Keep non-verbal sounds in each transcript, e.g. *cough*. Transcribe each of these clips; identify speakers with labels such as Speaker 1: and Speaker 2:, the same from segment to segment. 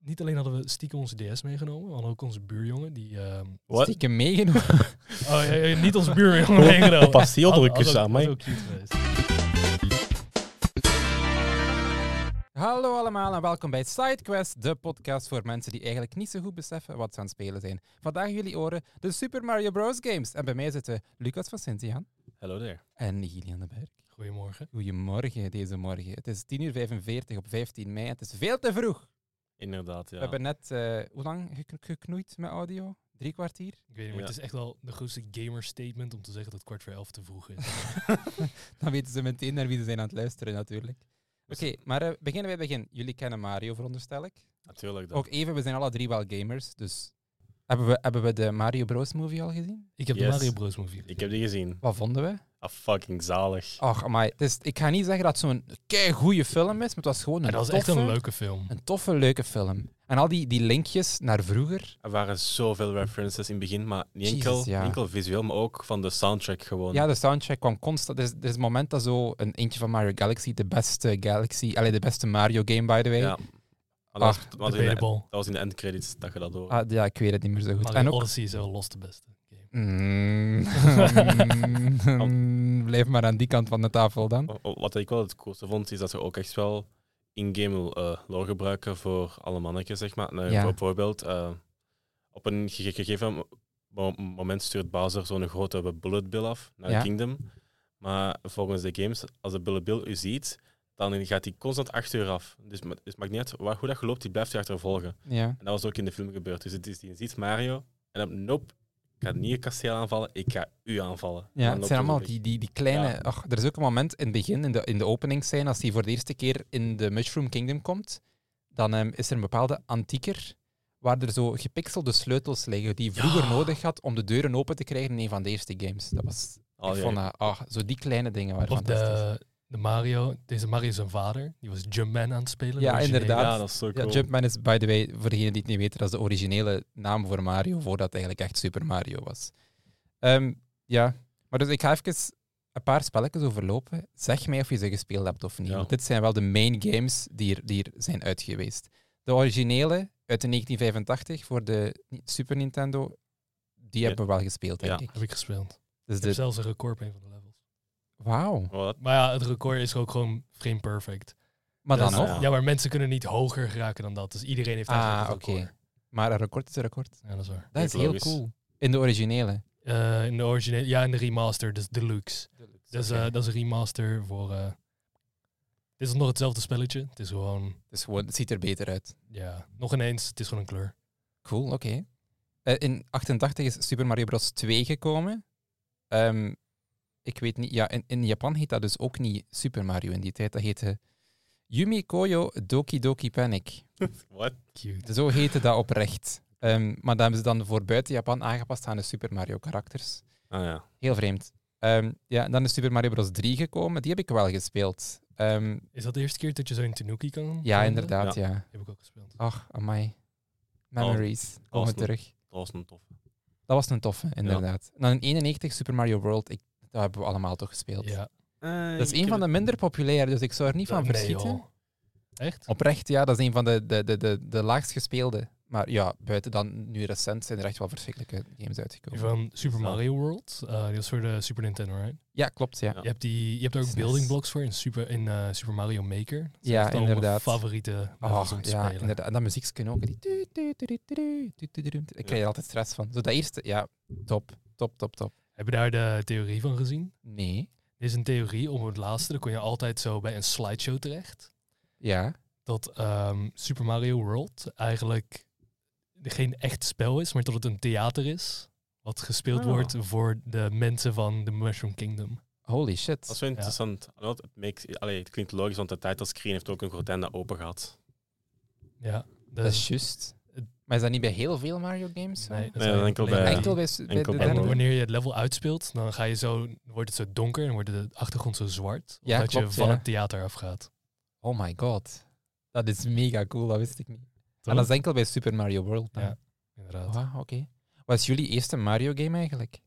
Speaker 1: niet alleen hadden we stiekem onze DS meegenomen, we hadden ook onze buurjongen. Die, ehm,
Speaker 2: Wat?
Speaker 3: Stiekem meegenomen. *laughs*
Speaker 1: oh, ja, ja, niet onze
Speaker 2: *laughs*
Speaker 1: buurjongen meegenomen.
Speaker 2: Pas heel
Speaker 1: Had-
Speaker 2: drukjes
Speaker 1: had ook-
Speaker 2: aan,
Speaker 1: had
Speaker 2: mij.
Speaker 1: ook cute geweest.
Speaker 3: Hallo allemaal en welkom bij SideQuest, de podcast voor mensen die eigenlijk niet zo goed beseffen wat ze aan het spelen zijn. Vandaag in jullie oren de Super Mario Bros. games. En bij mij zitten Lucas van Sintian
Speaker 2: Hello there.
Speaker 3: en Gillian de Berg.
Speaker 1: Goedemorgen.
Speaker 3: Goedemorgen deze morgen. Het is 10.45 uur 45 op 15 mei. Het is veel te vroeg.
Speaker 2: Inderdaad, ja.
Speaker 3: We hebben net, eh, hoe lang gek- geknoeid met audio? Drie kwartier? *laughs*
Speaker 1: Ik weet niet, maar
Speaker 2: Ja.
Speaker 1: het is echt wel de grootste gamer statement om te zeggen dat kwart voor elf te vroeg is.
Speaker 3: Dan weten ze meteen naar wie ze zijn aan het luisteren natuurlijk.
Speaker 2: Dus
Speaker 3: Oké, maar eh, beginnen bij het begin. Jullie kennen Mario, veronderstel ik.
Speaker 2: Natuurlijk dan.
Speaker 3: Ook even, we zijn alle drie wel gamers, dus... Hebben we, hebben we de Mario Bros. movie al gezien?
Speaker 1: Ik heb de
Speaker 2: Yes.
Speaker 1: Mario Bros movie.
Speaker 2: Ik heb die gezien.
Speaker 3: Wat vonden we?
Speaker 2: Ah, fucking zalig.
Speaker 3: Ach, maar ik ga niet zeggen dat het zo'n goede film is, maar het was gewoon een
Speaker 1: En dat was echt
Speaker 3: toffe,
Speaker 1: een leuke film.
Speaker 3: een toffe, leuke film. En al die, die linkjes naar vroeger.
Speaker 2: Er waren zoveel references in het begin, maar niet
Speaker 3: Jezus,
Speaker 2: enkel,
Speaker 3: ja.
Speaker 2: niet enkel visueel, maar ook van de soundtrack gewoon.
Speaker 3: Ja, de soundtrack kwam constant. Er is, er is een moment dat zo een eentje van Mario Galaxy, de beste Galaxy, allee, de beste Mario game, by the way.
Speaker 2: Ja. Maar dat,
Speaker 3: Ach,
Speaker 2: was, dat was in de, dat
Speaker 1: Debatable.
Speaker 2: was in de endcredits dat je dat hoorde.
Speaker 3: Ah, ja, ik weet het niet meer zo goed.
Speaker 1: Mario
Speaker 3: en ook.
Speaker 1: Odyssey is wel los de beste. game.
Speaker 3: Mm, *laughs* Blijf maar aan die kant van de tafel dan.
Speaker 2: O- o- Oh, Wat ik wel het coolste vond, is dat ze ook echt wel in-game eh, lore gebruiken voor alle mannetjes, zeg maar. Nou,
Speaker 3: Ja.
Speaker 2: Bijvoorbeeld, eh, op een ge- gegeven mo- moment stuurt Bowser zo'n grote bullet bill af naar
Speaker 3: Ja.
Speaker 2: Kingdom. Maar volgens de games, als de bullet bill u ziet, dan gaat hij constant achter u af. Dus ma- het maakt niet uit waar, hoe dat je loopt, die blijft je achtervolgen.
Speaker 3: Ja.
Speaker 2: En dat was ook in de film gebeurd. Dus het is, je ziet Mario en dan, nope, ik ga niet je kasteel aanvallen, ik ga u aanvallen. En
Speaker 3: Ja,
Speaker 2: dan
Speaker 3: het
Speaker 2: loopt
Speaker 3: zijn
Speaker 2: hij zo
Speaker 3: allemaal
Speaker 2: weg.
Speaker 3: die, die, die kleine...
Speaker 2: Ja.
Speaker 3: Ach, er is ook een moment in het begin, in de, in de openingsscène, als hij voor de eerste keer in de Mushroom Kingdom komt, dan ehm, is er een bepaalde antieker waar er zo gepixelde sleutels liggen die je vroeger
Speaker 1: Ja.
Speaker 3: nodig had om de deuren open te krijgen in een van de eerste games. Dat was...
Speaker 2: Al
Speaker 3: ik
Speaker 2: je-
Speaker 3: vond dat... Ach, zo die kleine dingen waren
Speaker 1: Of
Speaker 3: fantastisch.
Speaker 1: de, de Mario, deze Mario zijn vader, die was Jumpman aan het spelen.
Speaker 3: Ja,
Speaker 1: de originele.
Speaker 3: inderdaad.
Speaker 2: Ja, dat is zo
Speaker 3: Ja,
Speaker 2: cool.
Speaker 3: Jumpman is, by the way, voor degenen die het niet weten, dat is de originele naam voor Mario, voordat het eigenlijk echt Super Mario was. Ehm, ja, maar dus ik ga even een paar spelletjes overlopen. Zeg mij of je ze gespeeld hebt of niet.
Speaker 2: Ja.
Speaker 3: Want dit zijn wel de main games die er, die er zijn uit geweest. De originele uit de 1985 voor de Ni- Super Nintendo, die
Speaker 2: Ja.
Speaker 3: hebben we wel gespeeld, denk
Speaker 2: Ja.
Speaker 3: ik.
Speaker 1: Heb ik gespeeld.
Speaker 3: Dus
Speaker 1: Ik heb
Speaker 3: de...
Speaker 1: zelfs een record op een van de levels.
Speaker 3: Wauw.
Speaker 2: Oh, dat-
Speaker 1: Maar ja, het record is ook gewoon frame perfect.
Speaker 3: Maar dan
Speaker 2: Dus,
Speaker 3: nog.
Speaker 2: ja.
Speaker 1: Ja, maar mensen kunnen niet hoger geraken dan dat. Dus iedereen heeft eigenlijk
Speaker 3: Ah,
Speaker 1: een
Speaker 3: oké.
Speaker 1: record.
Speaker 3: Maar een record is een record.
Speaker 1: Ja, dat is waar.
Speaker 3: Dat is
Speaker 2: Klinkt
Speaker 3: heel
Speaker 2: logisch.
Speaker 3: cool. In de originele.
Speaker 1: Eh, in de originele, ja, in de remaster, dus deluxe. Dus eh,
Speaker 3: Oké.
Speaker 1: dat is een remaster voor... eh, het is nog hetzelfde spelletje. Het is gewoon,
Speaker 3: Dus gewoon, het ziet er beter uit.
Speaker 1: ja, nog ineens, het is gewoon een kleur.
Speaker 3: Cool, oké. Eh, in 88 is Super Mario Bros. 2 gekomen. Ehm, ik weet niet, ja, in, in Japan heet dat dus ook niet Super Mario in die tijd. Dat heette Yumi Koyo Doki Doki Panic.
Speaker 2: *laughs* What?
Speaker 1: Cute.
Speaker 3: Zo heette dat oprecht. Ehm, maar dat hebben ze dan voor buiten Japan aangepast aan de Super Mario karakters.
Speaker 2: Ah ja.
Speaker 3: Heel vreemd. Ehm, ja, en dan is Super Mario Bros. 3 gekomen. Die heb ik wel gespeeld. Ehm,
Speaker 1: Is dat de eerste keer dat je zo in Tanuki kan?
Speaker 3: ja,
Speaker 1: veranderen?
Speaker 3: inderdaad, ja.
Speaker 1: Heb ik ook gespeeld.
Speaker 3: Ach, amai. Memories. Komen
Speaker 2: awesome.
Speaker 3: terug.
Speaker 2: Dat was een toffe.
Speaker 3: Dat was een toffe, inderdaad. En Dan in 91 Super Mario World, ik, dat hebben we allemaal toch gespeeld.
Speaker 1: Ja.
Speaker 2: Eh,
Speaker 1: Eh,
Speaker 3: Dat is een van de minder populaire, dus ik zou er niet van
Speaker 1: Nee,
Speaker 3: verschieten.
Speaker 1: joh. Echt?
Speaker 3: Oprecht, ja, dat is een van de, de, de, de, de laagst gespeelde. Maar ja, buiten dan nu recent zijn er echt wel verschrikkelijke games
Speaker 1: Die
Speaker 3: uitgekomen.
Speaker 1: van Super
Speaker 2: Zo.
Speaker 1: Mario World. eh, die was voor de Super Nintendo, right?
Speaker 3: Ja, klopt, ja.
Speaker 2: Ja.
Speaker 1: Je hebt, die, je hebt er ook
Speaker 3: SNES.
Speaker 1: building blocks voor in Super, in, eh, Super Mario Maker. Dat zijn
Speaker 3: Ja,
Speaker 1: echt wel mijn
Speaker 3: inderdaad.
Speaker 1: favoriete
Speaker 3: Oh,
Speaker 1: levels om te
Speaker 3: ja,
Speaker 1: spelen.
Speaker 3: inderdaad. En dat muziekje ook. Die tu- tu- tu- tu- tu- tu- tu- tu- Ik krijg er altijd stress van. Zo dat eerste, ja, top, top, top, top.
Speaker 1: Heb je daar de theorie van gezien?
Speaker 3: Nee,
Speaker 1: Dit is een theorie om het laatste. Dan kon je altijd zo bij een slideshow terecht.
Speaker 3: ja.
Speaker 1: Dat ehm, Super Mario World eigenlijk geen echt spel is, maar dat het een theater is. Wat gespeeld
Speaker 2: Oh.
Speaker 1: wordt voor de mensen van de Mushroom Kingdom.
Speaker 3: Holy
Speaker 2: Dat is
Speaker 3: shit.
Speaker 2: wel interessant. Alhoewel, Het, makes, allee, het klinkt logisch, want de title screen heeft ook een gordijn dat open gaat.
Speaker 1: Ja,
Speaker 3: Dat is
Speaker 1: dus
Speaker 3: juist. Maar is dat niet bij heel veel Mario games? zo?
Speaker 1: nee, dat is
Speaker 2: Nee,
Speaker 1: eigenlijk
Speaker 2: enkel
Speaker 1: alleen
Speaker 2: bij-
Speaker 1: die-
Speaker 3: Enkel bij, su- bij
Speaker 2: enkel
Speaker 3: de
Speaker 2: bij
Speaker 1: En
Speaker 3: derde.
Speaker 2: Mario.
Speaker 1: wanneer je het level uitspeelt, dan ga je zo, wordt het zo donker en wordt de achtergrond zo zwart.
Speaker 3: Ja,
Speaker 1: omdat je
Speaker 3: klopt,
Speaker 1: van
Speaker 3: ja.
Speaker 1: het theater afgaat.
Speaker 3: Oh my god. Dat is mega cool, dat wist ik niet.
Speaker 1: Toch?
Speaker 3: En dat is enkel bij Super Mario World. dan.
Speaker 1: Ja. Inderdaad.
Speaker 3: Wauw, oké. Wat is jullie eerste Mario game eigenlijk?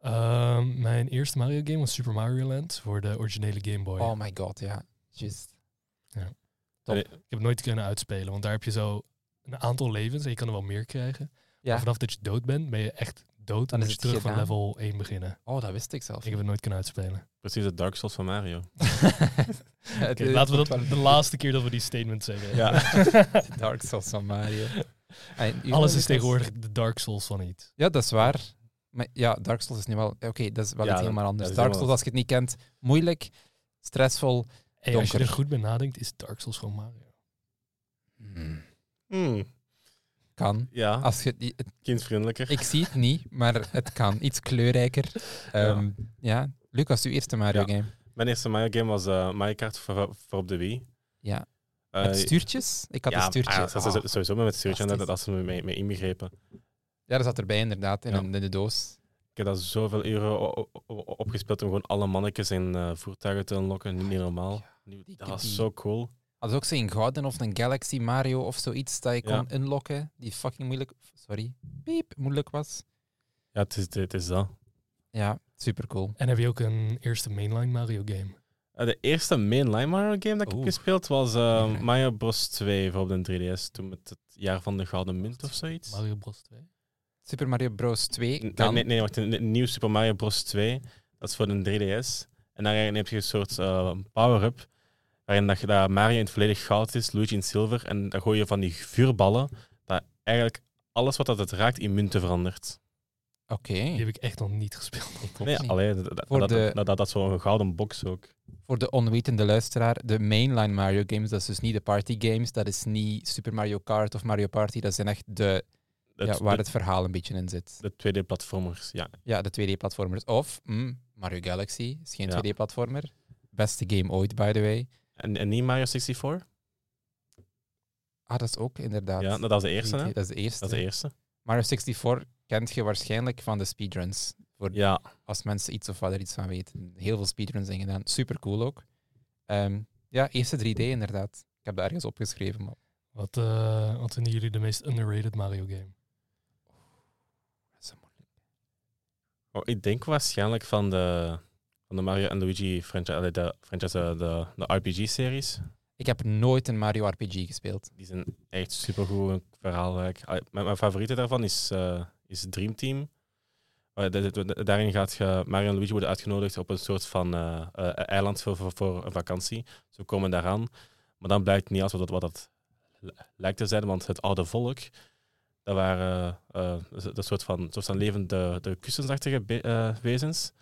Speaker 1: Ehm, mijn eerste Mario game was Super Mario Land voor de originele Game Boy.
Speaker 3: Oh my god, ja. Juist.
Speaker 1: Ja.
Speaker 3: Top.
Speaker 2: Allee,
Speaker 1: Ik heb het nooit kunnen uitspelen, want daar heb je zo een aantal levens en je kan er wel meer krijgen. Maar
Speaker 3: Ja.
Speaker 1: vanaf dat je dood bent, ben je echt dood.
Speaker 3: Dan
Speaker 1: en
Speaker 3: is
Speaker 1: moet je
Speaker 3: het
Speaker 1: terug van
Speaker 3: gedaan.
Speaker 1: level 1 beginnen.
Speaker 3: Oh, dat wist ik zelf.
Speaker 1: Ik heb het nooit kunnen uitspelen.
Speaker 2: Precies het Dark Souls van Mario.
Speaker 1: Oké, laten
Speaker 3: *laughs*
Speaker 1: we dat de laatste keer dat we die statement zeggen. *laughs*
Speaker 2: Ja.
Speaker 3: Dark Souls van Mario. En u-
Speaker 1: Alles is tegenwoordig de Dark Souls van iets.
Speaker 3: Ja, dat is waar. Maar ja, Dark Souls is nu wel... Oké, dat is wel
Speaker 2: Ja,
Speaker 3: iets
Speaker 2: dat-
Speaker 3: helemaal anders.
Speaker 2: dat is
Speaker 3: Dark Souls,
Speaker 2: helemaal-
Speaker 3: als je het niet kent, moeilijk, stressvol.
Speaker 1: En als je er
Speaker 3: Donker.
Speaker 1: goed bij nadenkt, is Dark Souls gewoon Mario.
Speaker 2: Hmm,
Speaker 3: Kan.
Speaker 2: Ja,
Speaker 3: Als je het niet-
Speaker 2: kindvriendelijker.
Speaker 3: Ah. Ik zie het niet, maar het kan. Iets kleurrijker. Ehm, ja. Lucas, uw eerste Mario game.
Speaker 2: Mijn eerste Mario game was eh, Mario Kart voor, voor op de Wii.
Speaker 3: Ja.
Speaker 2: Eh,
Speaker 3: Met stuurtjes? Ik had
Speaker 2: ja,
Speaker 3: de stuurtjes.
Speaker 2: ah, dat is
Speaker 3: Ah.
Speaker 2: sowieso met stuurtjes, dat,
Speaker 3: Fantastisch.
Speaker 2: dat ze me mee, mee inbegrepen.
Speaker 3: Ja, dat zat erbij inderdaad, in,
Speaker 2: Ja.
Speaker 3: een- in de doos.
Speaker 2: Ik heb daar zoveel uren o- o- o- opgespeeld om gewoon alle mannetjes in eh, voertuigen te unlocken. Niet meer normaal.
Speaker 3: Die-
Speaker 2: Dat was
Speaker 3: die-
Speaker 2: zo cool.
Speaker 3: Hadden ze ook zo'n gouden of een Galaxy Mario of zoiets dat je
Speaker 2: Ja.
Speaker 3: kon unlocken, die fucking moeilijk, sorry, piep, moeilijk was.
Speaker 2: Ja, het is, het is dat.
Speaker 3: Ja, super cool.
Speaker 1: En heb je ook een eerste mainline Mario game?
Speaker 2: Eh, de eerste mainline Mario game dat ik
Speaker 3: Oeh. Ah,
Speaker 2: heb gespeeld was eh,
Speaker 3: Ja.
Speaker 2: Mario Bros 2 voor op de 3DS. Toen met het jaar van de Gouden Munt of zoiets.
Speaker 1: Mario Bros 2?
Speaker 3: Super Mario Bros. 2
Speaker 2: Nee,
Speaker 3: kan.
Speaker 2: nee, nee, wacht. een- een Nieuw Super Mario Bros 2. Dat is voor de 3DS. En daarin heb je een soort eh, power-up. Waarin dat, je, dat Mario in het volledig goud is, Luigi in het zilver. En dan gooi je van die vuurballen. Dat eigenlijk alles wat dat het raakt in munten verandert.
Speaker 3: Oké.
Speaker 1: Die heb ik echt nog niet gespeeld.
Speaker 3: Klopt
Speaker 2: nee,
Speaker 3: niet.
Speaker 2: alleen dat, dat,
Speaker 3: Voor
Speaker 2: dat,
Speaker 3: de-
Speaker 2: dat, dat, dat is zo'n gouden box ook.
Speaker 3: Voor de onwetende luisteraar, de mainline Mario games, dat is dus niet de party games, dat is niet Super Mario Kart of Mario Party, dat zijn echt de,
Speaker 2: Het,
Speaker 3: ja, waar
Speaker 2: de,
Speaker 3: het verhaal een beetje in zit.
Speaker 2: de 2D-platformers, ja.
Speaker 3: Ja, de 2D-platformers. Of mm, Mario Galaxy is geen
Speaker 2: Ja.
Speaker 3: 2D-platformer. Beste game ooit, by the way.
Speaker 2: En, en niet Mario 64?
Speaker 3: Ah, dat is ook inderdaad.
Speaker 2: Ja, dat was de eerste, hè?
Speaker 3: Dat is de eerste.
Speaker 2: Dat is de eerste.
Speaker 3: Mario 64 kent je waarschijnlijk van de speedruns.
Speaker 2: Ja,
Speaker 3: Als mensen iets of wat er iets van weten. Heel veel speedruns zijn gedaan. Super cool ook. Ehm, ja, eerste 3D inderdaad. Ik heb dat ergens opgeschreven. Maar
Speaker 1: Wat, eh, wat vinden jullie de meest underrated Mario game?
Speaker 3: dat is moeilijk.
Speaker 2: Oh, ik denk waarschijnlijk van de, van de Mario en Luigi franchise, allee, de, franchise eh, de, de RPG-series.
Speaker 3: Ik heb nooit een Mario RPG gespeeld.
Speaker 2: Die zijn echt supergoed verhaalrijk. Allee, ah, Mijn, mijn favoriete daarvan is, eh, is Dream Team. Eh, de- de- de- daarin gaat je, Mario en Luigi worden uitgenodigd op een soort van eh, eh, eiland voor, voor, voor een vakantie. Ze komen daaraan. Maar dan blijkt niet als wat dat, wat dat li- lijkt te zijn, want het oude volk, dat waren eh, eh, een soort van, soort van levende de kussensachtige be- eh, wezens.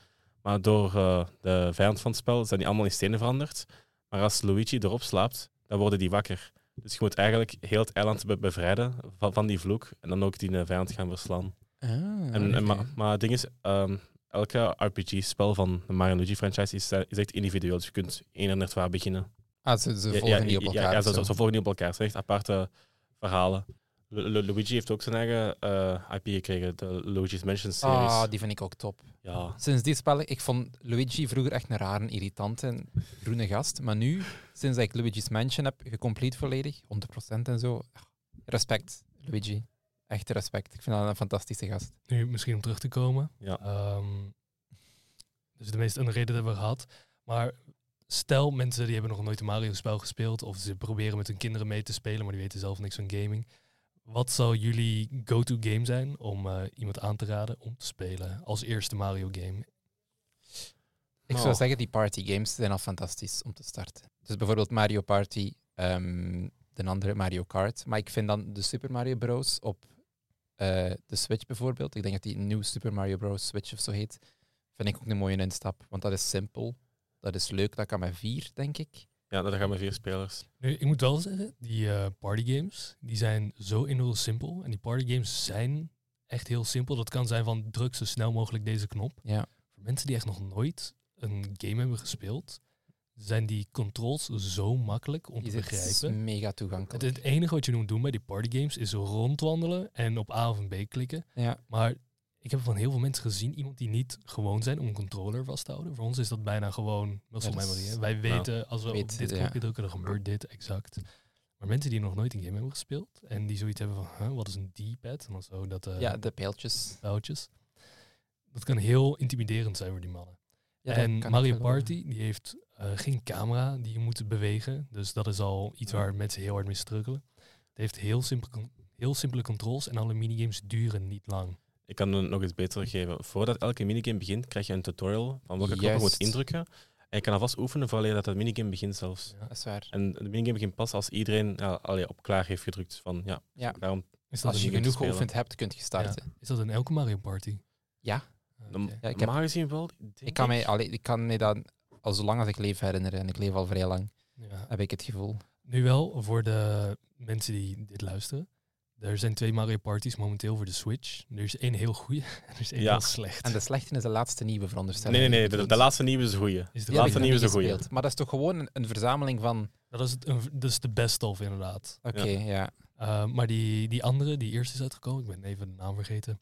Speaker 2: Maar door eh, de vijand van het spel zijn die allemaal in stenen veranderd. Maar als Luigi erop slaapt, dan worden die wakker. Dus je moet eigenlijk heel het eiland be- bevrijden van, van die vloek en dan ook die eh, vijand gaan verslaan. En, en ma- maar, het ding is, ehm, elke RPG-spel van de Mario en Luigi franchise is, eh, is echt individueel. Dus je kunt één en het waar beginnen.
Speaker 3: ah, ze, ze volgen niet op
Speaker 2: ja,
Speaker 3: elkaar.
Speaker 2: Ja,
Speaker 3: of
Speaker 2: ze,
Speaker 3: zo.
Speaker 2: ze volgen niet op elkaar. Het zijn echt aparte eh, verhalen. Lu- Lu- Luigi heeft ook zijn eigen eh, IP gekregen, de Luigi's Mansion series.
Speaker 3: Ah, die vind ik ook top.
Speaker 2: Ja,
Speaker 3: Sinds die spellen, ik vond Luigi vroeger echt een rare, irritante en groene gast. Maar nu, sinds dat ik Luigi's Mansion heb gecomplete volledig, 100% en zo. Respect, Luigi. Echt respect. Ik vind dat een fantastische gast.
Speaker 1: Nu misschien om terug te komen.
Speaker 2: Ja.
Speaker 1: Ehm, dus de meest underrated hebben we gehad. Maar stel mensen die hebben nog nooit een Mario spel gespeeld. Of ze proberen met hun kinderen mee te spelen, maar die weten zelf niks van gaming. Wat zou jullie go-to game zijn om eh, iemand aan te raden om te spelen als eerste Mario game?
Speaker 3: Ik
Speaker 2: Oh.
Speaker 3: zou zeggen, die party games zijn al fantastisch om te starten. Dus bijvoorbeeld Mario Party, ehm de andere Mario Kart. Maar ik vind dan de Super Mario Bros. op eh, de Switch bijvoorbeeld. Ik denk dat die nieuwe Super Mario Bros. Switch of zo heet. Vind ik ook een mooie instap. Want dat is simpel. Dat is leuk. Dat kan met vier, denk ik.
Speaker 2: ja daar gaan we vier spelers.
Speaker 1: Nu, ik moet wel zeggen, die eh party games die zijn zo enorm simpel. En die party games zijn echt heel simpel. Dat kan zijn van druk zo snel mogelijk deze knop.
Speaker 3: Ja.
Speaker 1: Voor mensen die echt nog nooit een game hebben gespeeld, zijn die controls zo makkelijk om
Speaker 3: Die
Speaker 1: te
Speaker 3: zit- is
Speaker 1: begrijpen.
Speaker 3: mega toegankelijk.
Speaker 1: Het, het enige wat je moet doen bij die partygames is rondwandelen en op A of een B klikken.
Speaker 3: Ja.
Speaker 1: Maar ik heb van heel veel mensen gezien, iemand die niet gewoon zijn om een controller vast te houden. Voor ons is dat bijna gewoon muscle
Speaker 3: Ja, dat is-
Speaker 1: memory. hè. Wij
Speaker 2: Nou,
Speaker 1: weten, als we
Speaker 3: weet-
Speaker 1: op dit
Speaker 3: ja.
Speaker 1: knopje drukken, dan gebeurt dit exact. Maar mensen die nog nooit een game hebben gespeeld en die zoiets hebben van, huh, wat is een D-pad? En dan zo, dat, eh
Speaker 3: Ja, de pijltjes.
Speaker 1: touwtjes. Dat kan heel intimiderend zijn voor die mannen.
Speaker 3: Ja, dat
Speaker 1: en
Speaker 3: kan
Speaker 1: Mario
Speaker 3: ik wel-
Speaker 1: Party, die heeft eh, geen camera die je moet bewegen. Dus dat is al iets
Speaker 2: Ja.
Speaker 1: waar mensen heel hard mee struggelen. Het heeft heel, simpel, con- heel simpele controls en alle minigames duren niet lang.
Speaker 2: Ik kan het nog eens beter geven. Voordat elke minigame begint, krijg je een tutorial van welke knop je
Speaker 3: Juist.
Speaker 2: moet indrukken. En je kan alvast oefenen vooraleer dat de minigame begint zelfs.
Speaker 1: Ja.
Speaker 3: Dat is waar.
Speaker 2: En de minigame begint pas als iedereen ja, allee, op klaar heeft gedrukt. Dus Van, ja,
Speaker 3: Ja.
Speaker 2: Daarom,
Speaker 1: Is, dat
Speaker 3: Als je
Speaker 1: een,
Speaker 2: minigame te
Speaker 3: genoeg
Speaker 2: spelen.
Speaker 3: geoefend hebt, kun je starten.
Speaker 1: is dat in elke Mario Party?
Speaker 3: Ja.
Speaker 1: Ah,
Speaker 2: dan-
Speaker 1: oké.
Speaker 3: Ja, ik heb-
Speaker 2: normaal gezien wel. denk
Speaker 3: Ik kan mij, allee, ik kan mij dat al zo lang als ik leef herinneren, en ik leef al vrij lang,
Speaker 1: Ja.
Speaker 3: heb ik het gevoel.
Speaker 1: Nu wel, voor de mensen die dit luisteren. Er zijn twee Mario Parties momenteel voor de Switch. Er is één heel goede *laughs* en er is één
Speaker 2: Ja.
Speaker 1: heel slecht.
Speaker 3: En de slechte is de laatste nieuwe, veronderstel ik.
Speaker 2: Nee, nee, nee. De, de laatste nieuwe is de goeie.
Speaker 1: Is de
Speaker 3: Die heb ik
Speaker 2: laatste
Speaker 1: laatste
Speaker 3: nog
Speaker 2: nieuwe is
Speaker 3: niet
Speaker 2: de goeie.
Speaker 3: gespeeld. Maar dat is toch gewoon een, een verzameling van...
Speaker 1: Dat is, het, een- dat is de best of inderdaad.
Speaker 3: Oké,
Speaker 2: Ja.
Speaker 3: ja.
Speaker 1: Eh, maar die, die andere, die eerst is uitgekomen, ik ben even de naam vergeten.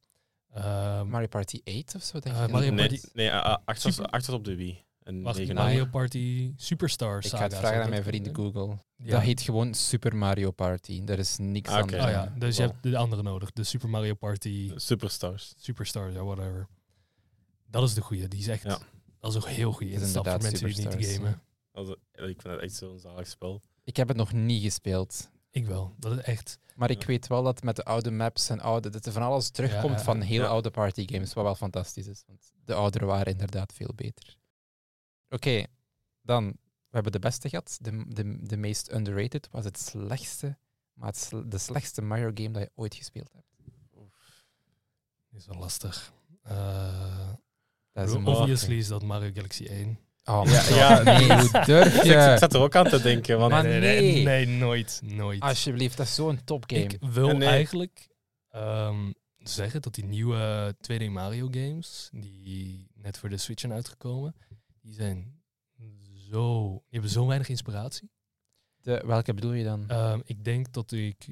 Speaker 1: Ehm,
Speaker 3: Mario Party 8 of zo, denk
Speaker 1: Eh,
Speaker 3: ik.
Speaker 1: Mario
Speaker 2: nee,
Speaker 1: Party-
Speaker 2: nee eh, eh, acht was,
Speaker 1: Super-
Speaker 2: acht was op de Wii. En
Speaker 1: wacht,
Speaker 2: negen-
Speaker 1: Mario
Speaker 3: Ah.
Speaker 1: Party Superstar
Speaker 3: ik ga
Speaker 1: Saga,
Speaker 3: het vragen
Speaker 1: zou dat
Speaker 3: aan mijn vriend
Speaker 1: kunnen?
Speaker 3: Google.
Speaker 1: Ja.
Speaker 3: Dat heet gewoon Super Mario Party. Er is niks
Speaker 2: Ah, oké.
Speaker 3: anders.
Speaker 1: Oh
Speaker 3: aan.
Speaker 1: ja, dus je
Speaker 2: Wow.
Speaker 1: hebt de andere nodig. De Super Mario Party
Speaker 2: Superstars.
Speaker 1: Superstars, ja, whatever. Dat is de goede. Die is echt.
Speaker 2: Ja.
Speaker 1: Dat is ook heel goede
Speaker 3: Het is
Speaker 1: instap voor
Speaker 3: inderdaad
Speaker 1: mensen die niet
Speaker 3: Superstars,
Speaker 1: gamen.
Speaker 2: Also, ik vind dat echt zo'n zalig spel.
Speaker 3: Ik heb het nog niet gespeeld.
Speaker 1: Ik wel. Dat is echt.
Speaker 3: Maar ik
Speaker 2: Ja.
Speaker 3: weet wel dat met de oude maps en oude... Dat er van alles terugkomt
Speaker 1: Ja, ja,
Speaker 3: van
Speaker 1: ja.
Speaker 3: heel
Speaker 2: Ja.
Speaker 3: oude partygames. Wat wel fantastisch is. Want de oudere waren inderdaad veel beter. Oké, dan. We hebben de beste gehad. De, de, de meest underrated was het slechtste... Maar het sl- de slechtste Mario game dat je ooit gespeeld hebt.
Speaker 1: Is wel lastig. Eh,
Speaker 3: Dat is een
Speaker 1: obviously
Speaker 3: moeilijke.
Speaker 1: is dat Mario Galaxy 1.
Speaker 3: Oh,
Speaker 2: Ja,
Speaker 3: ja,
Speaker 2: ja,
Speaker 3: nee,
Speaker 2: *laughs* dat
Speaker 3: hoe
Speaker 1: *laughs*
Speaker 3: durf
Speaker 2: Ik, ik
Speaker 3: je?
Speaker 2: zat er ook aan te denken. Want
Speaker 3: Maar
Speaker 1: Ah, nee,
Speaker 3: nee.
Speaker 1: nee, nooit. Nooit.
Speaker 3: Alsjeblieft, dat is zo'n topgame.
Speaker 1: Ik wil
Speaker 2: En nee.
Speaker 1: eigenlijk ehm, zeggen dat die nieuwe 2D Mario games, die net voor de Switch zijn uitgekomen, die zijn zo. Die hebben zo weinig inspiratie.
Speaker 3: De, welke bedoel je dan?
Speaker 1: Ehm, ik denk dat ik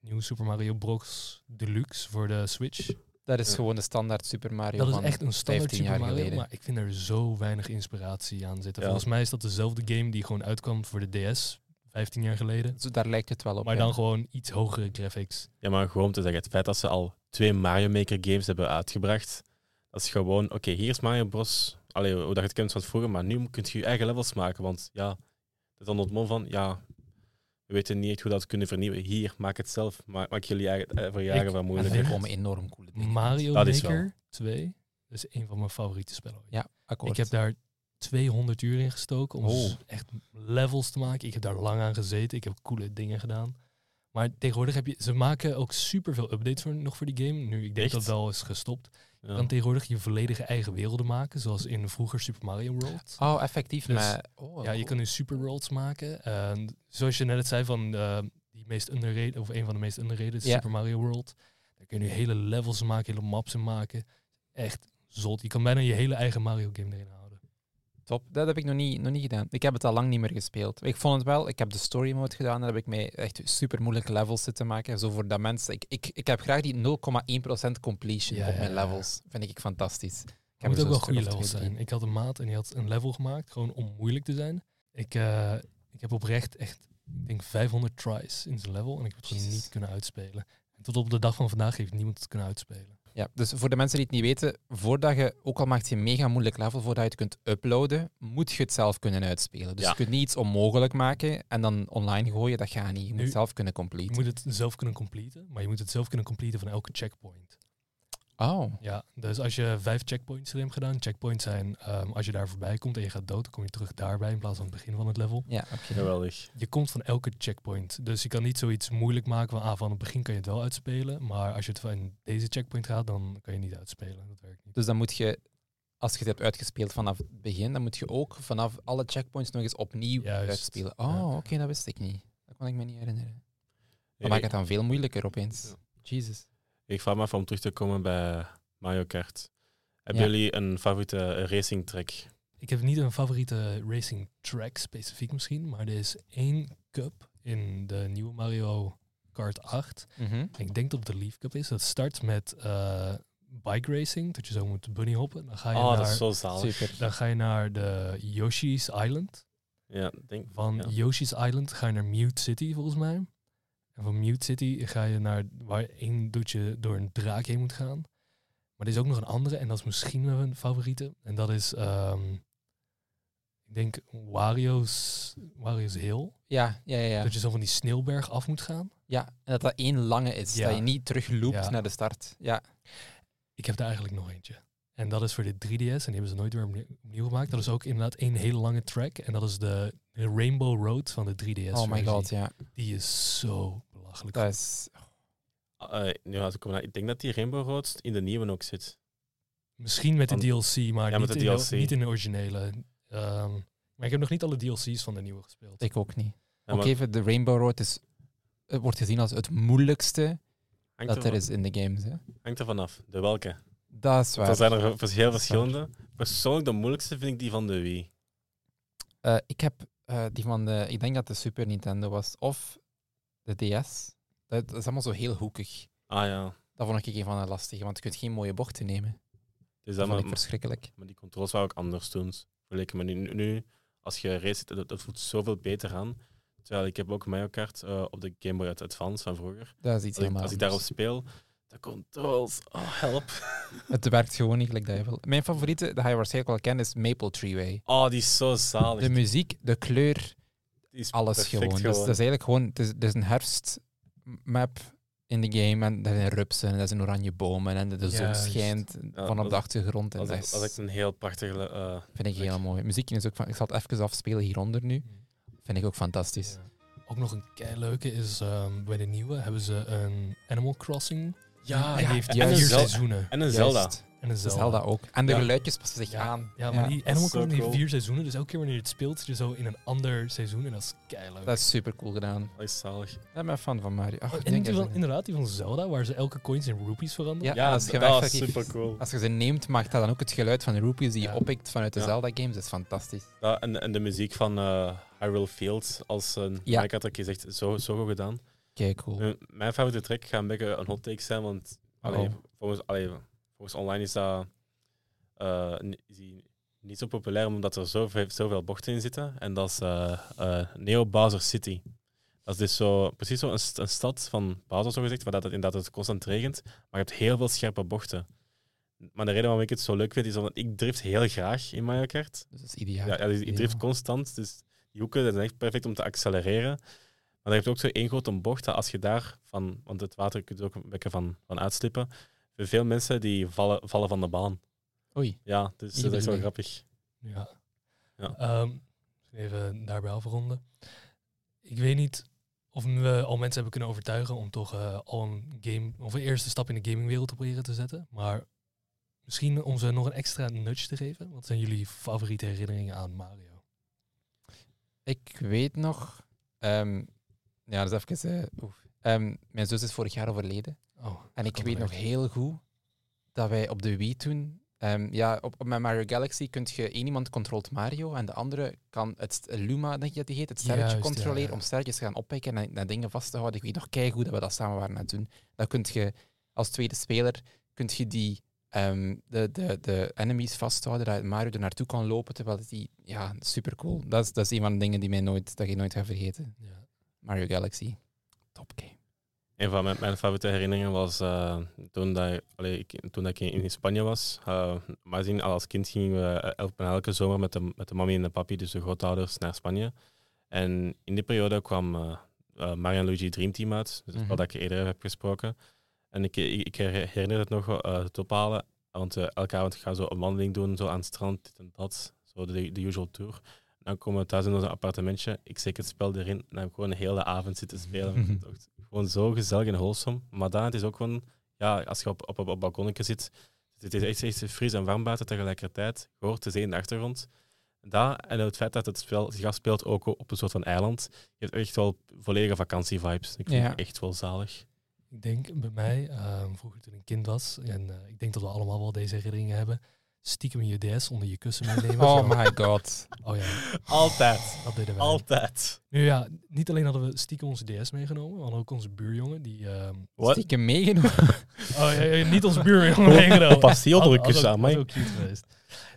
Speaker 1: nieuw Super Mario Bros. Deluxe voor de Switch.
Speaker 3: dat is
Speaker 2: ja.
Speaker 3: gewoon de standaard Super Mario.
Speaker 1: eh. Dat is
Speaker 3: van
Speaker 1: echt een standaard
Speaker 3: 15 jaar
Speaker 1: Super Mario,
Speaker 3: geleden.
Speaker 1: maar ik vind er zo weinig inspiratie aan zitten.
Speaker 2: Ja.
Speaker 1: Volgens mij is dat dezelfde game die gewoon uitkwam voor de DS 15 jaar geleden.
Speaker 3: Zo, daar lijkt het wel op.
Speaker 1: Maar
Speaker 3: ja.
Speaker 1: dan gewoon iets hogere graphics.
Speaker 2: Ja, maar gewoon om te zeggen, het feit dat ze al twee Mario Maker games hebben uitgebracht, dat is gewoon, oké, hier is Mario Bros. Allee, hoe dat je het kent van vroeger, maar nu kun je je eigen levels maken, want ja, het is dan ontmon van, ja, we weten niet echt hoe dat we kunnen vernieuwen. Hier, maak het zelf, maak, maak jullie eigen, eh, voor je
Speaker 1: Ik-
Speaker 2: eigen wat
Speaker 3: Maar
Speaker 2: moeilijker.
Speaker 3: er
Speaker 1: vind
Speaker 3: komen enorm coole dingen.
Speaker 1: Mario
Speaker 2: Dat is wel.
Speaker 1: Maker 2 dat is een van mijn favoriete spellen. ooit.
Speaker 3: Ja, akkoord.
Speaker 1: Ik heb daar 200 uur in gestoken om
Speaker 3: Oh.
Speaker 1: s- echt levels te maken. Ik heb daar lang aan gezeten. Ik heb coole dingen gedaan. Maar tegenwoordig heb je... Ze maken ook superveel updates voor, nog voor die game. Nu, ik denk
Speaker 2: Echt?
Speaker 1: dat het wel is gestopt.
Speaker 2: *laughs* Ja.
Speaker 1: Dan tegenwoordig je volledige eigen werelden maken. Zoals in vroeger Super Mario World.
Speaker 3: Oh, effectief.
Speaker 1: Dus-
Speaker 3: maar, oh,
Speaker 1: Ja, je
Speaker 3: goed.
Speaker 1: kan nu Super Worlds maken. En zoals je net zei van eh, die meest underrated... Of een van de meest underrated is
Speaker 3: Ja.
Speaker 1: Super Mario World. Daar kun je nu hele levels in maken. Hele maps in maken. Echt zot. Je kan bijna je hele eigen Mario game erin houden.
Speaker 3: Top. Dat heb ik nog niet, nog niet gedaan. Ik heb het al lang niet meer gespeeld. Ik vond het wel, ik heb de story mode gedaan. Daar heb ik mij echt super moeilijke levels zitten maken. Zo voor dat mensen. Ik, ik, ik heb graag die 0,1% completion
Speaker 1: Ja,
Speaker 3: op mijn
Speaker 1: ja, ja.
Speaker 3: levels. Vind ik fantastisch. Ik
Speaker 1: Het
Speaker 3: heb
Speaker 1: moet
Speaker 3: er
Speaker 1: ook wel
Speaker 3: zo'n stuk
Speaker 1: goede
Speaker 3: of
Speaker 1: levels
Speaker 3: twee,
Speaker 1: zijn.
Speaker 3: drie.
Speaker 1: Ik had een maat en die had een level gemaakt, gewoon om moeilijk te zijn. Ik, eh, ik heb oprecht echt, ik denk 500 tries in zijn level en ik heb het gewoon
Speaker 3: Jezus.
Speaker 1: niet kunnen uitspelen. En tot op de dag van vandaag heeft niemand het kunnen uitspelen.
Speaker 3: Ja, dus voor de mensen die het niet weten, voordat je, ook al maakt je een mega moeilijk level, voordat je het kunt uploaden, moet je het zelf kunnen uitspelen. Dus
Speaker 2: Ja.
Speaker 3: je kunt niet iets onmogelijk maken en dan online gooien, dat gaat niet. Je moet
Speaker 1: Nu-
Speaker 3: het zelf kunnen
Speaker 1: Je
Speaker 3: completen.
Speaker 1: moet het zelf kunnen completen, maar je moet het zelf kunnen completen van elke checkpoint.
Speaker 3: Oh,
Speaker 1: Ja, dus als je vijf checkpoints erin hebt gedaan, checkpoints zijn, ehm, als je daar voorbij komt en je gaat dood, dan kom je terug daarbij in plaats van het begin van het level.
Speaker 3: ja, oké.
Speaker 2: Geweldig.
Speaker 1: Je komt van elke checkpoint. Dus je kan niet zoiets moeilijk maken van ah, van het begin kan je het wel uitspelen. Maar als je het van deze checkpoint gaat, dan kan je het niet uitspelen. Dat werkt niet.
Speaker 3: Dus dan moet je, als je het hebt uitgespeeld vanaf het begin, dan moet je ook vanaf alle checkpoints nog eens opnieuw
Speaker 1: Juist.
Speaker 3: uitspelen.
Speaker 1: Ja.
Speaker 3: Oh, oké, dat wist ik niet. Dat kon ik me niet herinneren. Dan
Speaker 2: Ik,
Speaker 3: maakt het dan veel moeilijker opeens.
Speaker 2: Ja.
Speaker 3: Jesus.
Speaker 2: ik vraag me af om terug te komen bij Mario Kart. Hebben
Speaker 3: Ja.
Speaker 2: jullie een favoriete racing track?
Speaker 1: Ik heb niet een favoriete racing track specifiek misschien. Maar er is één cup in de nieuwe Mario Kart 8.
Speaker 3: Mhm.
Speaker 1: Ik denk dat het de Leaf Cup is. Dat start met eh, bike racing. Dat je zo moet bunny hoppen. Dan ga je,
Speaker 2: Oh, dat is
Speaker 1: naar,
Speaker 2: zo zalig.
Speaker 3: Super.
Speaker 1: dan ga je naar de Yoshi's Island.
Speaker 2: Ja, ik denk,
Speaker 1: Van
Speaker 2: Ja.
Speaker 1: Yoshi's Island ga je naar Mute City, volgens mij. En van Mute City ga je naar waar één doetje door een draak heen moet gaan. Maar er is ook nog een andere, en dat is misschien wel mijn favoriete. En dat is, ehm, ik denk Wario's, Wario's Hill.
Speaker 3: Ja, ja, ja. ja.
Speaker 1: Dat je zo van die sneeuwberg af moet gaan.
Speaker 3: Ja, en dat dat één lange is.
Speaker 1: Ja.
Speaker 3: Dat je niet terugloopt
Speaker 1: Ja.
Speaker 3: naar de start. Ja.
Speaker 1: Ik heb daar eigenlijk nog eentje. En dat is voor de 3DS. En die hebben ze nooit weer opnieuw- opnieuw gemaakt. Dat is ook inderdaad één hele lange track. En dat is de, de Rainbow Road van de 3DS.
Speaker 3: oh my
Speaker 1: versie.
Speaker 3: god, ja.
Speaker 1: Die is zo belachelijk.
Speaker 3: Dat is...
Speaker 2: Eh, nu had ik, hem- ik denk dat die Rainbow Road in de nieuwe ook zit.
Speaker 1: Misschien met de
Speaker 2: Van-
Speaker 1: DLC, maar
Speaker 2: Ja,
Speaker 1: niet,
Speaker 2: met de
Speaker 1: in
Speaker 2: DLC.
Speaker 1: De, niet in de originele. Ehm, maar ik heb nog niet alle DLC's van de nieuwe gespeeld.
Speaker 3: Ik ook niet.
Speaker 2: Ja,
Speaker 3: ook
Speaker 2: maar
Speaker 3: even, de Rainbow Road is, eh, wordt gezien als het moeilijkste
Speaker 2: hangt
Speaker 3: dat er is in de games. Hè.
Speaker 2: Hangt er vanaf. De welke?
Speaker 3: Dat is
Speaker 2: Er
Speaker 3: waar.
Speaker 2: zijn er vers- heel
Speaker 3: Dat is waar.
Speaker 2: verschillende. Persoonlijk de moeilijkste vind ik die van de Wii.
Speaker 3: Eh, ik heb eh, die van de... Ik denk dat de Super Nintendo was. Of de DS. Dat, dat is allemaal zo heel hoekig.
Speaker 2: Ah ja.
Speaker 3: Dat vond ik een van de lastige, want je kunt geen mooie bochten nemen.
Speaker 2: Dus dat
Speaker 3: Dat vond
Speaker 2: maar,
Speaker 3: ik verschrikkelijk.
Speaker 2: maar die controles waren ook anders toen. Vergeleken met nu, nu. Als je race zit, dat, dat voelt zoveel beter aan. Terwijl ik heb ook Mario Kart eh, op de Game Boy Advance van vroeger.
Speaker 3: Dat
Speaker 2: Als
Speaker 3: is iets
Speaker 2: ik,
Speaker 3: helemaal
Speaker 2: als ik daarop
Speaker 3: anders.
Speaker 2: speel, de controls, oh help.
Speaker 3: Het werkt gewoon niet gelijk dat je wil. Mijn favoriete, dat je waarschijnlijk wel kent, is Maple Treeway.
Speaker 2: Oh, die is zo zalig.
Speaker 3: De muziek, de kleur,
Speaker 2: Die is
Speaker 3: alles
Speaker 2: perfect
Speaker 3: gewoon. Dus dat is eigenlijk gewoon, het is, het is een herfstmap in de game en er zijn rupsen en er zijn oranje bomen en de, de zon
Speaker 1: Juist.
Speaker 3: schijnt
Speaker 2: Ja,
Speaker 3: van op
Speaker 2: dat-
Speaker 3: de achtergrond. En
Speaker 2: dat,
Speaker 3: dat,
Speaker 2: is,
Speaker 3: is-
Speaker 2: dat is een heel prachtige... eh,
Speaker 3: vind ik
Speaker 2: leuk.
Speaker 3: heel mooi. Muziek is ook van, ik zal het even afspelen hieronder nu. Vind ik ook fantastisch.
Speaker 1: Mm. Ja. Ook nog een leuke is ehm, bij de nieuwe hebben ze een Animal Crossing.
Speaker 2: ja,
Speaker 1: en die heeft
Speaker 2: en,
Speaker 1: vier
Speaker 2: een
Speaker 3: juist.
Speaker 2: Zelda,
Speaker 1: seizoenen.
Speaker 2: en een Zelda.
Speaker 3: Juist.
Speaker 1: En een
Speaker 3: Zelda.
Speaker 1: Zelda.
Speaker 3: ook. En de
Speaker 2: Ja.
Speaker 3: geluidjes passen zich aan.
Speaker 1: Ja, maar die Animal
Speaker 2: is zo
Speaker 1: Crossing heeft
Speaker 2: cool.
Speaker 1: vier seizoenen. Dus elke keer wanneer je het speelt, zit je zo in een ander seizoen. En dat is keileuk.
Speaker 3: Dat is super cool gedaan.
Speaker 2: Dat is zalig.
Speaker 3: Ik ben fan van Mario. Ach, ik
Speaker 1: Oh, en
Speaker 3: denk
Speaker 1: die
Speaker 3: dat
Speaker 1: van,
Speaker 3: ze-
Speaker 1: inderdaad, die van Zelda, waar ze elke coins in rupees veranderen.
Speaker 3: Ja,
Speaker 2: Ja,
Speaker 3: als
Speaker 2: d-
Speaker 3: je
Speaker 2: dat
Speaker 3: echt-
Speaker 2: is super cool.
Speaker 3: Als je ze neemt, maakt dat dan ook het geluid van de rupees die je
Speaker 1: Ja.
Speaker 3: oppikt vanuit de
Speaker 2: Ja.
Speaker 3: Zelda-games. Dat is fantastisch.
Speaker 2: Ja, en, en de muziek van eh Hyrule Fields als een.
Speaker 3: Ja. Oh.
Speaker 2: Ja. Ik had dat gezegd, zo, zo goed gedaan.
Speaker 3: Kijk, cool.
Speaker 2: Eh, mijn favoriete track gaat een beetje een hot take zijn, want allee, volgens, allee, volgens online is dat eh, ni- is die niet zo populair omdat er zoveel, zoveel bochten in zitten. En dat is eh, eh, Neo Bowser City. Dat is dus zo, precies zo'n st- een stad van Bowser, zogezegd, waar dat het inderdaad het constant regent, maar je hebt heel veel scherpe bochten. Maar de reden waarom ik het zo leuk vind, is omdat ik drift heel graag in Mario Kart.
Speaker 3: Dus dat is ideaal.
Speaker 2: Ja, ja die, die drift
Speaker 3: Ja.
Speaker 2: constant. Dus die hoeken dat is echt perfect om te accelereren. Maar dan heb je ook zo één grote bocht. Dat als je daar van, want het water kun je er ook een beetje van, van uitslippen. Voor veel mensen die vallen, vallen van de baan.
Speaker 3: Oei.
Speaker 2: Ja, dus dat is wel
Speaker 3: bedoeling.
Speaker 2: grappig.
Speaker 1: Ja.
Speaker 2: Ja.
Speaker 1: Ehm, even daarbij afronden. Ik weet niet of we al mensen hebben kunnen overtuigen om toch eh, al een game of een eerste stap in de gamingwereld te proberen te zetten. Maar misschien om ze nog een extra nudge te geven. Wat zijn jullie favoriete herinneringen aan Mario?
Speaker 3: Ik weet nog... ehm, ja, dat is even... eh, oef. Ehm, mijn zus is vorig jaar overleden.
Speaker 1: Oh,
Speaker 3: En ik
Speaker 1: kan
Speaker 3: weet
Speaker 1: wel
Speaker 3: nog
Speaker 1: even.
Speaker 3: heel goed dat wij op de Wii toen... ehm, ja, op, op mijn Mario Galaxy kun je... één iemand controlt Mario en de andere kan het st- Luma, denk je dat die heet, het sterretje
Speaker 1: Juist, ja,
Speaker 3: controleren
Speaker 1: ja.
Speaker 3: om sterretjes te gaan oppikken en naar dingen vast te houden. Ik weet nog keigoed dat we dat samen waren aan het doen. Dan kun je als tweede speler kun je die, ehm, de, de, de enemies vasthouden, dat Mario er naartoe kan lopen, terwijl die... Ja, super cool. Dat is, dat is een van de dingen die, mij nooit, dat ik nooit ga vergeten.
Speaker 1: Ja.
Speaker 3: Mario Galaxy. Top game.
Speaker 2: Een van mijn, mijn favoriete herinneringen was eh, toen, dat, allee, ik, toen dat ik in, in Spanje was. eh, maar zien, al als kind gingen we el- bijna elke zomer met de, met de mami en de papi, dus de grootouders, naar Spanje. En in die periode kwam eh eh, Mario en Luigi Dream Team uit, dus dat is
Speaker 3: Mhm.
Speaker 2: wat ik eerder heb gesproken. En ik, ik, ik her- herinner het nog, eh het ophalen, want eh, elke avond gaan we zo een wandeling doen, zo aan het strand, dit en dat, zo de, de usual tour. Dan komen we thuis in ons appartementje, ik steek het spel erin en heb ik gewoon een hele avond zitten spelen.
Speaker 3: Mhm. *laughs*
Speaker 2: Het is echt Gewoon zo gezellig en wholesome. Maar dan, het is ook gewoon, ja, als je op, op, op, op balkonnetje zit, het is echt, echt fris en warm buiten tegelijkertijd, je hoort de zee in de achtergrond. Dat en het feit dat het spel zich afspeelt ook op een soort van eiland. Je hebt echt wel volledige vakantievibes. Ik vind
Speaker 3: Ja.
Speaker 2: het echt wel zalig.
Speaker 1: Ik denk bij mij, ehm, vroeger toen ik kind was, en eh, ik denk dat we allemaal wel deze herinneringen hebben, stiekem je DS onder je kussen meenemen.
Speaker 3: Oh
Speaker 1: Zo.
Speaker 3: my god.
Speaker 1: Oh ja,
Speaker 2: *laughs* Altijd.
Speaker 1: dat deden wij.
Speaker 2: Altijd.
Speaker 1: Nu ja, niet alleen hadden we stiekem onze DS meegenomen, we hadden ook onze buurjongen die... ehm,
Speaker 2: Wat?
Speaker 3: Stiekem meegenomen.
Speaker 1: Oh, ja, ja, niet onze buurjongen meegenomen.
Speaker 2: Pas die onder de
Speaker 1: Had- had
Speaker 2: kussen
Speaker 1: ook-
Speaker 2: aan,
Speaker 1: had
Speaker 2: mij.
Speaker 1: ook cute geweest.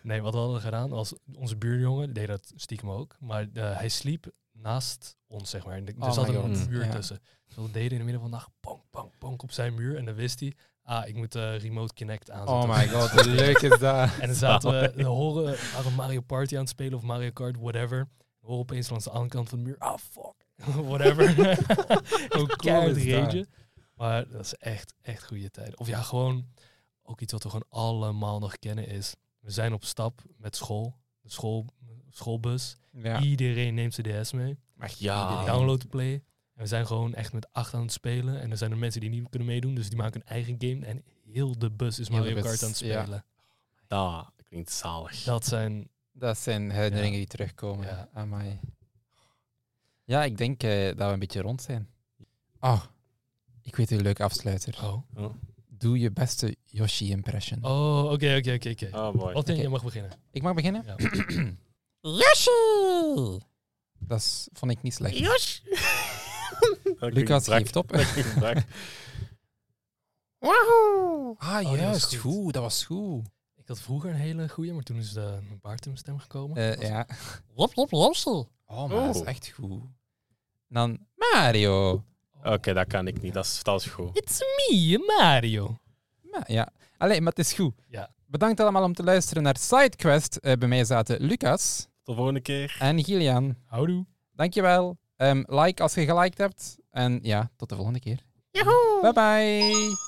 Speaker 1: Nee, wat we hadden gedaan, als onze buurjongen deed dat stiekem ook, maar eh, hij sliep naast ons, zeg maar. En de-
Speaker 3: Oh
Speaker 1: er zat
Speaker 3: my
Speaker 1: een
Speaker 2: God.
Speaker 1: muur
Speaker 3: Ja.
Speaker 1: tussen. Dus we deden in de midden van de nacht, bang, bang, bang op zijn muur. En dan wist hij, ah, ik moet eh, Remote Connect aanzetten.
Speaker 3: Oh my god,
Speaker 1: *laughs*
Speaker 3: hoe leuk is dat?
Speaker 1: En dan zaten we, we horen, we waren Mario Party aan het spelen of Mario Kart, whatever. We horen opeens langs de andere kant van de muur, ah fuck, *laughs* whatever.
Speaker 3: *laughs*
Speaker 1: *laughs* Ook keihard
Speaker 3: is dat?
Speaker 1: rage. Maar dat is echt, echt goede tijd. Of ja, gewoon, ook iets wat we gewoon allemaal nog kennen is, we zijn op stap met school, de school, schoolbus.
Speaker 3: Ja.
Speaker 1: Iedereen neemt zijn DS mee,
Speaker 2: Maar
Speaker 1: iedereen
Speaker 2: ja.
Speaker 1: download de play. En we zijn gewoon echt met acht aan het spelen. En er zijn er mensen die niet kunnen meedoen, dus die maken een eigen game. En heel de bus is
Speaker 3: Heel de
Speaker 1: Mario
Speaker 3: bus,
Speaker 1: Kart aan het
Speaker 3: ja.
Speaker 1: spelen.
Speaker 2: Dat klinkt zalig.
Speaker 1: Dat zijn
Speaker 3: Dat zijn herinneringen
Speaker 1: Ja.
Speaker 3: die terugkomen.
Speaker 1: Ja.
Speaker 3: Ja. Amai. Ja, ik denk eh, dat we een beetje rond zijn. Oh, ik weet een leuke afsluiter.
Speaker 1: Oh.
Speaker 3: Doe je beste Yoshi-impression.
Speaker 1: Oh, oké, oké, oké, oké.
Speaker 2: Oh boy.
Speaker 1: Wat denk
Speaker 3: Oké.
Speaker 1: je mag beginnen?
Speaker 3: Ik mag beginnen?
Speaker 1: Ja.
Speaker 3: *clears throat* Yoshi! Dat is- vond ik niet slecht. *laughs* Lucas geeft op.
Speaker 2: *laughs*
Speaker 3: Wauw! Ah,
Speaker 1: was
Speaker 3: juist.
Speaker 1: goed.
Speaker 3: goed. Dat was goed.
Speaker 1: Ik had vroeger een hele goeie, maar toen is de mijn baartemstem gekomen.
Speaker 3: Eh,
Speaker 1: Dat was-
Speaker 3: ja.
Speaker 1: Lop, lop, lopsel.
Speaker 3: Oh, maar dat is
Speaker 2: Oh.
Speaker 3: echt goed. Dan Mario.
Speaker 1: Oh.
Speaker 2: Oké, dat kan ik niet. Dat is, dat is goed.
Speaker 1: It's me, Mario.
Speaker 3: Ma- ja. Allee, maar het is goed.
Speaker 1: Ja.
Speaker 3: Bedankt allemaal om te luisteren naar SideQuest. Eh, bij mij zaten Lucas
Speaker 2: Tot de volgende keer.
Speaker 3: en Gillian.
Speaker 1: Houdoe.
Speaker 3: Dankjewel. Ehm like als je geliked hebt. En ja, tot de volgende keer. Bye bye.